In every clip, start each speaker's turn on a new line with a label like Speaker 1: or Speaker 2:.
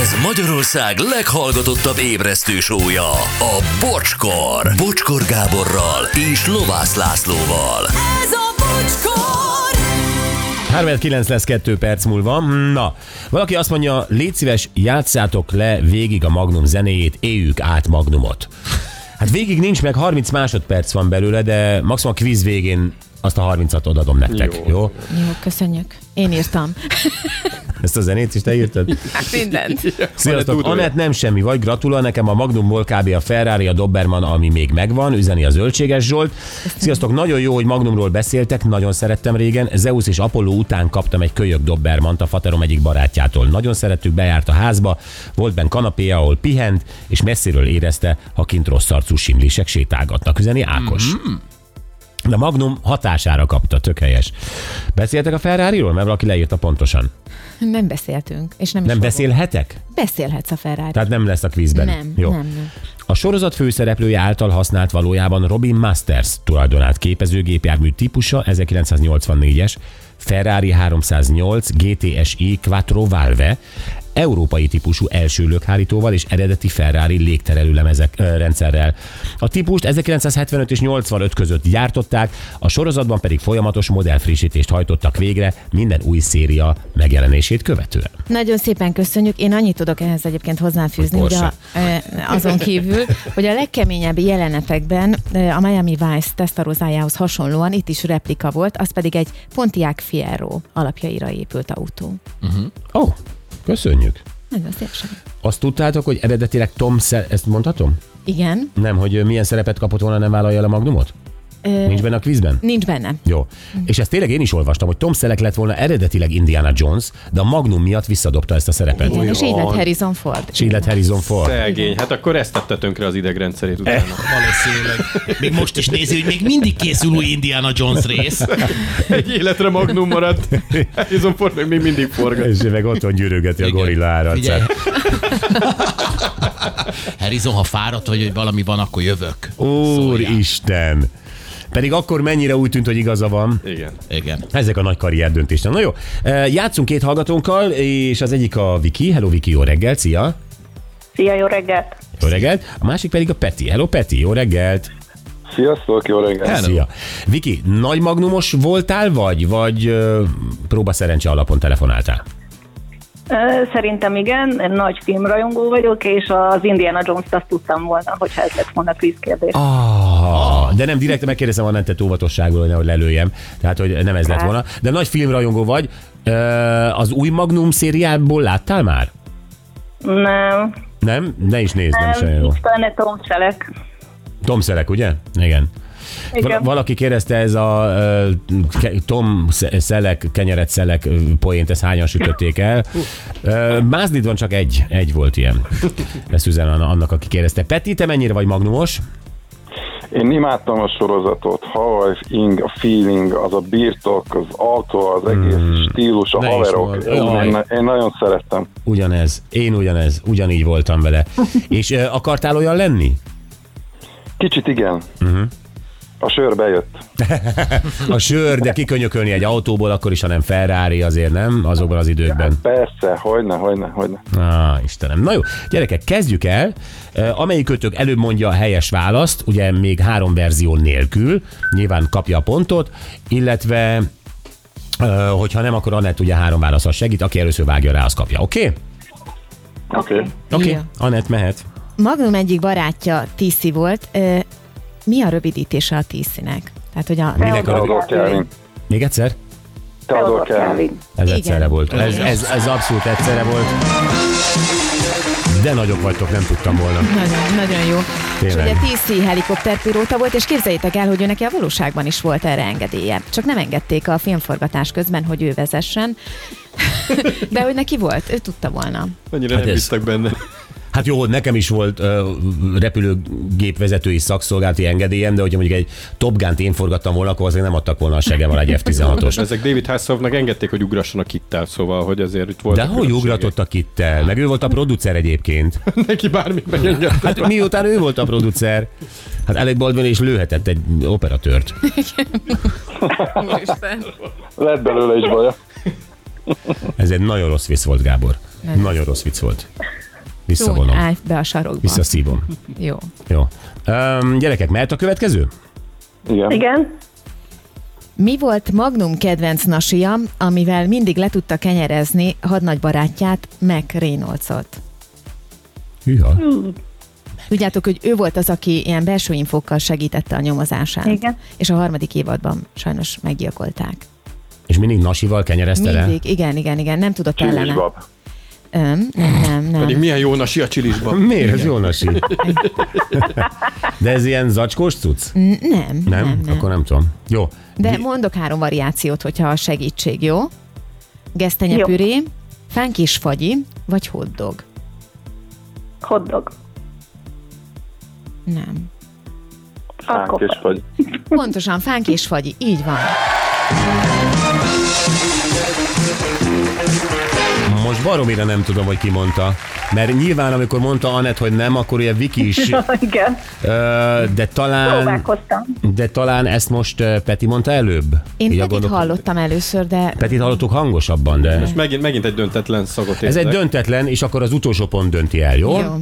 Speaker 1: Ez Magyarország leghallgatottabb ébresztő sója, a Bocskor. Bocskor Gáborral és Lovász Lászlóval.
Speaker 2: Ez a bocskor!
Speaker 3: 39 lesz 2 perc múlva. Na, valaki azt mondja, légy szíves, játszátok le végig a Magnum zenéjét, éljük át Magnumot. Hát végig nincs meg, 30 másodperc van belőle, de maximum a quiz végén azt a 30-at odadom nektek, jó? jó?
Speaker 4: Jó, köszönjük. Én írtam.
Speaker 3: Ezt a zenét is te írtad?
Speaker 4: Hát mindent.
Speaker 3: Sziasztok, Anett nem semmi vagy, gratulál nekem a Magnumból kb. a Ferrari, a Doberman, ami még megvan, üzeni a zöldséges Zsolt. Sziasztok, nagyon jó, hogy Magnumról beszéltek, nagyon szerettem régen. Zeus és Apollo után kaptam egy kölyök Dobermant a faterom egyik barátjától. Nagyon szerettük, bejárt a házba, volt benne kanapéja, ahol pihent, és messziről érezte, ha kint rossz arcú simlések sétálgatnak, üzeni Ákos. De Magnum hatására kapta, tök helyes. Beszéltek a Ferrari-ról? Mert valaki leírta pontosan.
Speaker 4: Nem beszéltünk, és nem, is
Speaker 3: Nem
Speaker 4: fogunk.
Speaker 3: beszélhetek?
Speaker 4: Beszélhetsz a Ferrari.
Speaker 3: Tehát nem lesz a kvízben.
Speaker 4: Nem,
Speaker 3: Jó.
Speaker 4: nem, nem.
Speaker 3: A sorozat főszereplője által használt valójában Robin Masters tulajdonát képező gépjármű típusa 1984-es Ferrari 308 GTSI Quattro Valve európai típusú első lökhárítóval és eredeti Ferrari légterelő lemezek, ö, rendszerrel. A típust 1975 és 85 között gyártották, a sorozatban pedig folyamatos modellfrissítést hajtottak végre minden új széria megjelenését követően.
Speaker 4: Nagyon szépen köszönjük. Én annyit tudok ehhez egyébként hozzáfűzni,
Speaker 3: Hogy
Speaker 4: hogy a, eh, azon kívül, hogy a legkeményebb jelenetekben eh, a Miami Vice tesztarozájához hasonlóan itt is replika volt, az pedig egy Pontiac Fiero alapjaira épült autó.
Speaker 3: Ó, oh, köszönjük!
Speaker 4: Nagyon szép
Speaker 3: Azt tudtátok, hogy eredetileg Tom, szer- ezt mondhatom?
Speaker 4: Igen.
Speaker 3: Nem, hogy ö, milyen szerepet kapott volna, nem vállalja el a Magnumot?
Speaker 4: Ö, Mhm.
Speaker 3: Nincs benne a quizben?
Speaker 4: Nincs benne.
Speaker 3: Jó. És ezt tényleg én is olvastam, hogy Tom Selleck lett volna eredetileg Indiana Jones, de a Magnum miatt visszadobta ezt a szerepet.
Speaker 4: Igen, és így lett
Speaker 5: Olyan.
Speaker 4: Harrison Ford.
Speaker 3: És így lett Harrison Ford.
Speaker 5: Szegény, hát akkor ezt tette tönkre az idegrendszerét
Speaker 3: E.
Speaker 5: utána.
Speaker 6: Valószínűleg. Még most is nézi, hogy még mindig készül új Indiana Jones rész.
Speaker 5: Egy életre magnum maradt. Harrison Ford meg még mindig forgat.
Speaker 3: És ő meg otthon gyűrögeti a gorilla
Speaker 6: Figyelj.
Speaker 3: áracát.
Speaker 6: Harrison, ha fáradt vagy, hogy valami van, akkor jövök. Szóljál.
Speaker 3: Úristen! Pedig akkor mennyire úgy tűnt, hogy igaza van.
Speaker 5: Igen.
Speaker 6: Igen.
Speaker 3: Ezek a nagy karrier döntések. Na jó, E, játszunk két hallgatónkkal, és az egyik a Viki. Hello Viki, jó reggel, szia!
Speaker 7: Szia, jó reggelt!
Speaker 3: Jó reggelt! A másik pedig a Peti. Hello Peti, jó reggelt!
Speaker 8: Sziasztok, jó reggelt!
Speaker 3: Hello. Szia. Viki, nagy magnumos voltál, vagy, vagy ö, próba szerencse alapon telefonáltál?
Speaker 7: Ö, Szerintem igen, én nagy filmrajongó vagyok, és az Indiana Jones-t azt tudtam volna, hogyha ez lett volna kvíz kérdés.
Speaker 3: Ah, de nem direkt megkérdezem a nettet óvatosságból, hogy nehogy lelőjem. Tehát, hogy nem ez lett volna. De nagy filmrajongó vagy. Ö, az új Magnum szériából láttál már?
Speaker 7: Nem,
Speaker 3: Nem? Ne is nézd, nem, nem is
Speaker 7: nem,
Speaker 3: olyan jó.
Speaker 7: nincs benne Tom Selleck.
Speaker 3: Tom Selleck, ugye? Igen.
Speaker 7: Igen.
Speaker 3: Val- valaki kérdezte ez a uh, ke- Tom Szelek, kenyeret Szelek ö, poént, ezt hányan sütötték el. Uh, Mázdid van csak egy, egy volt ilyen. Ezt üzen Anna- annak, aki kérdezte. Peti, te mennyire vagy magnumos?
Speaker 8: Én imádtam a sorozatot, Hawaii Ing, a feeling, az a birtok, az autó, az egész stílus, a
Speaker 3: Hmm. Ne is
Speaker 8: haverok.
Speaker 3: mond.
Speaker 8: Én, én, én nagyon szerettem.
Speaker 3: Ugyanez. Én ugyanez. Ugyanígy voltam vele. És uh, akartál olyan lenni?
Speaker 8: Kicsit igen.
Speaker 3: Hmm.
Speaker 8: A sör bejött.
Speaker 3: A sör, de kikönyökölni egy autóból, akkor is, ha nem Ferrari, azért nem, azokban az időkben.
Speaker 8: Persze, hogyne, hogyne, hogyne.
Speaker 3: Á, Istenem. Na jó, gyerekek, kezdjük el. Ö, Amelyik ötök előbb mondja a helyes választ, ugye még három verzió nélkül, nyilván kapja a pontot, illetve ö, hogyha nem, akkor Anett ugye három válaszra segít, aki először vágja rá, az kapja. Oké? Okay?
Speaker 8: Oké. Okay.
Speaker 3: Oké, okay.
Speaker 4: Igen.
Speaker 3: Anett mehet.
Speaker 4: Magnum egyik barátja Tiszi volt. Ö, Mi a rövidítése a Tiszinek? Tehát, hogy a...
Speaker 3: Minek a
Speaker 8: Teodor Kelvin.
Speaker 3: Még egyszer?
Speaker 8: Teodor
Speaker 7: Teodor
Speaker 8: Kelvin.
Speaker 7: Kelvin.
Speaker 3: Ez
Speaker 4: Igen.
Speaker 3: egyszerre volt. Ez, ez, ez abszolút egyszerre volt. De nagyok vagytok, nem tudtam volna.
Speaker 4: Nagyon, nagyon jó.
Speaker 3: Tényleg.
Speaker 4: És ugye TC helikopterpilóta volt, és képzeljétek el, hogy ő neki a valóságban is volt erre engedélye. Csak nem engedték a filmforgatás közben, hogy ő vezessen. De hogy neki volt, ő tudta volna.
Speaker 5: Annyira
Speaker 3: Hát
Speaker 5: nem
Speaker 3: ez-
Speaker 5: hisztek benne.
Speaker 3: Hát jó, nekem is volt ö, repülőgépvezetői szakszolgálati engedélyem, de hogyha mondjuk egy Top Gun-t én forgattam volna, akkor azért nem adtak volna a segem alá egy F-16-os.
Speaker 5: Ezek David Hasselhoffnak engedték, hogy ugrasson a kittel, szóval, hogy azért itt volt.
Speaker 3: De hogy ugratott a kittel? Meg ő volt a producer egyébként.
Speaker 5: Neki bármit megengedte.
Speaker 3: Hát miután ő volt a producer, hát Alec Baldwin is lőhetett egy operatört.
Speaker 8: Lett belőle is baja.
Speaker 3: Ez egy nagyon rossz vicc volt, Gábor. Nagyon rossz vicc volt.
Speaker 4: Csúny,
Speaker 3: Visszavonom.
Speaker 4: állj be a sarokba.
Speaker 3: Visszaszívom.
Speaker 4: Jó.
Speaker 3: Jó. Öm, gyerekek, mehet a következő?
Speaker 8: Igen.
Speaker 7: Igen?
Speaker 4: Mi volt Magnum kedvenc nasia, amivel mindig le tudta kenyerezni hadnagybarátját, Mac Reynoldsot?
Speaker 3: Hűha.
Speaker 4: Tudjátok, hogy ő volt az, aki ilyen belső infókkal segítette a nyomozásán.
Speaker 7: Igen.
Speaker 4: És a harmadik évadban sajnos meggyilkolták.
Speaker 3: És mindig nasival kenyerezte le?
Speaker 4: Mindig, igen, igen, igen, nem tudott ellene.
Speaker 8: Csílisbab.
Speaker 4: Öm, nem, nem,
Speaker 5: Pedig
Speaker 4: nem.
Speaker 5: milyen jó nasi a csilisban.
Speaker 3: Miért? Ez jó nasi. De ez ilyen zacskós cucc?
Speaker 4: N- Nem,
Speaker 3: Nem?
Speaker 4: nem, nem.
Speaker 3: Akkor nem tudom. Jó.
Speaker 4: De
Speaker 3: Mi-
Speaker 4: mondok három variációt, hogyha a segítség, jó? Gesztenye
Speaker 7: Jó.
Speaker 4: püré, fánk és fagyi, vagy hotdog?
Speaker 7: Hoddog.
Speaker 4: Nem.
Speaker 8: Fánk és vagy.
Speaker 4: Pontosan, fánk és fagyi, így van.
Speaker 3: Most baromira nem tudom, hogy ki mondta. Mert nyilván, amikor mondta Anett, hogy nem, akkor ugye Viki is, ö,
Speaker 7: Igen.
Speaker 3: de talán,
Speaker 7: Próbálkoztam.
Speaker 3: de talán ezt most ö, Peti mondta előbb. Így
Speaker 4: Én
Speaker 3: a
Speaker 4: Petit
Speaker 3: gondolk-
Speaker 4: hallottam először, de
Speaker 3: Petit hallottuk hangosabban, de...
Speaker 5: És megint, megint egy döntetlen szagot
Speaker 3: Ez egy
Speaker 5: érzek.
Speaker 3: döntetlen, és akkor az utolsó pont dönti el, jó?
Speaker 4: jó.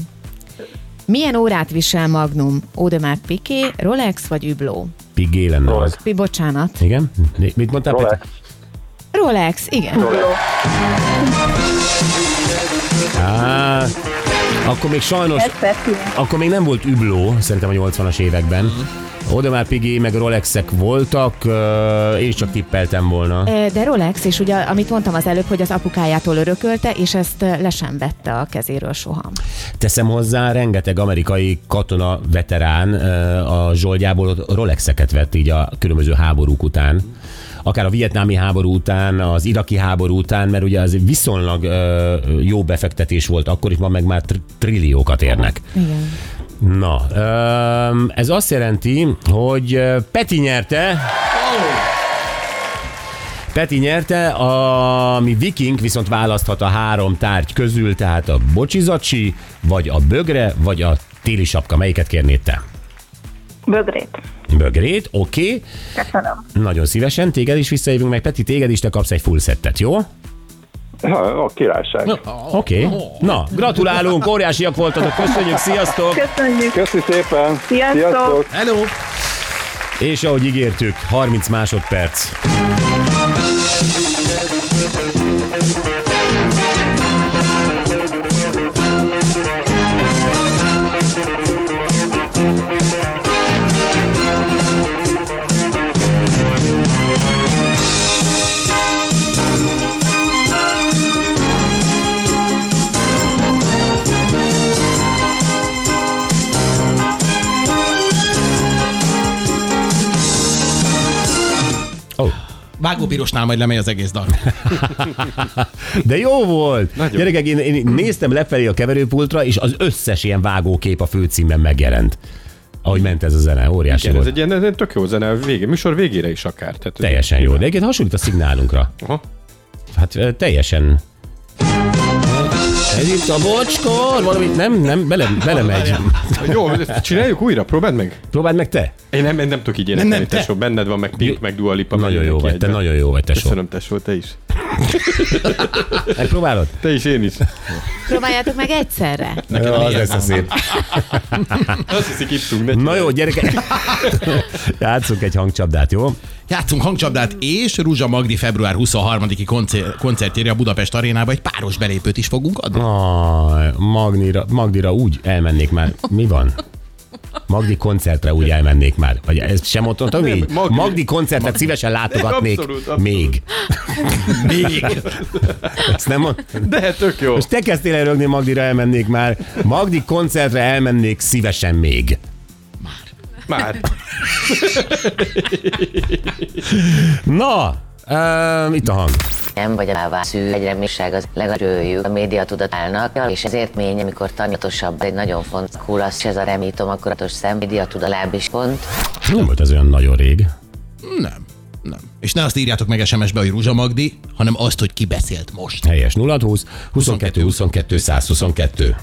Speaker 4: Milyen órát visel Magnum? Audemars Piqué, Rolex vagy Übló?
Speaker 3: Pigé lenne az.
Speaker 4: Mi, bocsánat.
Speaker 3: Igen? Mi- Mit mondtál, Peti?
Speaker 8: Rolex.
Speaker 4: Rolex, igen.
Speaker 3: Á, akkor még sajnos,
Speaker 7: Ez Peti.
Speaker 3: akkor még nem volt übló, szerintem a 80-as években. Oda már Pigé meg Rolexek voltak, ö, én is csak tippeltem volna.
Speaker 4: Ö, De Rolex, és ugye amit mondtam az előbb, hogy az apukájától örökölte, és ezt ö, le sem vette a kezéről soha.
Speaker 3: Teszem hozzá, rengeteg amerikai katona veterán ö, a zsoldjából ott Rolexeket vett így a különböző háborúk után. Akár a vietnámi háború után, az iraki háború után, mert ugye az viszonylag ö, jó befektetés volt akkor, és ma meg már tr- trilliókat érnek.
Speaker 4: Igen.
Speaker 3: Na, öm, ez azt jelenti, hogy ö, Peti nyerte. Peti nyerte, ami viking viszont választhat a három tárgy közül, tehát a bocsizacsi, vagy a bögre, vagy a téli sapka. Melyiket kérnéd te?
Speaker 7: Bögrét.
Speaker 3: Bögrét, oké. Okay.
Speaker 7: Köszönöm.
Speaker 3: Nagyon szívesen, téged is visszahívunk, meg Peti, téged is, te kapsz egy full settet, jó?
Speaker 8: Ha, a királyság.
Speaker 3: Oké. Okay. Na, gratulálunk, óriásiak voltatok, köszönjük, sziasztok!
Speaker 7: Köszönjük.
Speaker 8: Köszi szépen.
Speaker 7: Sziasztok.
Speaker 6: Hello!
Speaker 3: És ahogy ígértük, 30 másodperc. Oh.
Speaker 6: Vágópirosnál majd lemegy az egész dal.
Speaker 3: De jó volt!
Speaker 5: Nagyon.
Speaker 3: Gyerekek, én, én néztem lefelé a keverőpultra, és az összes ilyen vágókép a főcímben megjelent. Ahogy ment ez a zene, óriási
Speaker 5: Igen,
Speaker 3: volt.
Speaker 5: ez egy ilyen, ez egy tök jó zene, a végé, műsor végére is akár. Tehát ez-
Speaker 3: Teljesen jó, de egyébként hasonlít a szignálunkra.
Speaker 5: Aha.
Speaker 3: Hát ö, teljesen... Ez itt a bocskor, valamit nem, nem, bele, belemegy.
Speaker 5: Jó, ezt csináljuk újra, próbáld meg.
Speaker 3: Próbáld meg te.
Speaker 5: Én nem, én nem tudok így
Speaker 6: Nem,
Speaker 5: énekelni,
Speaker 6: nem, te.
Speaker 5: tesó, benned van, meg Pink, meg Dua Lipa. meg
Speaker 3: Nagyon jó
Speaker 5: mindenki
Speaker 3: vagy, te
Speaker 5: egyben.
Speaker 3: nagyon jó vagy, tesó.
Speaker 5: Köszönöm, tesó, te is.
Speaker 3: Megpróbálod?
Speaker 5: Te is, én is.
Speaker 4: Próbáljátok meg egyszerre.
Speaker 3: Jó, az lesz a szép.
Speaker 5: Azt hiszik, ittunk, ne
Speaker 3: Na jó, gyerekek, játszunk egy hangcsapdát, jó?
Speaker 6: Játszunk hangcsapdát, és Ruzsa Magdi február 23-i koncer- koncertjére a Budapest arénába egy páros belépőt is fogunk adni.
Speaker 3: Aj, Magnira, Magdira úgy elmennék már. Mi van? Magdi koncertre úgy elmennék már. Vagy ezt sem mondtam így?
Speaker 5: Magdi-
Speaker 3: Magdi koncertet szívesen látogatnék
Speaker 5: Abszolút, abszolút.
Speaker 3: még.
Speaker 6: Még.
Speaker 3: Ezt nem mond...
Speaker 5: De tök jó.
Speaker 3: Most te kezdtél el rögni, Magdira elmennék már. Magdi koncertre elmennék szívesen még.
Speaker 5: Már.
Speaker 3: Na, um, itt a hang.
Speaker 9: Nem vagy rává szű egy reménység az legalább a média tudatálnak, és ezért mény, amikor tanulatosabb, egy nagyon fontos kulasz, ez a remítom, akaratos szem, média tudalább is pont.
Speaker 3: Nem volt ez olyan nagyon rég.
Speaker 6: Nem. Nem. És ne azt írjátok meg SMS-be, hogy Ruzsa Magdi, hanem azt, hogy ki beszélt most.
Speaker 3: Helyes 0 20 22 22 122.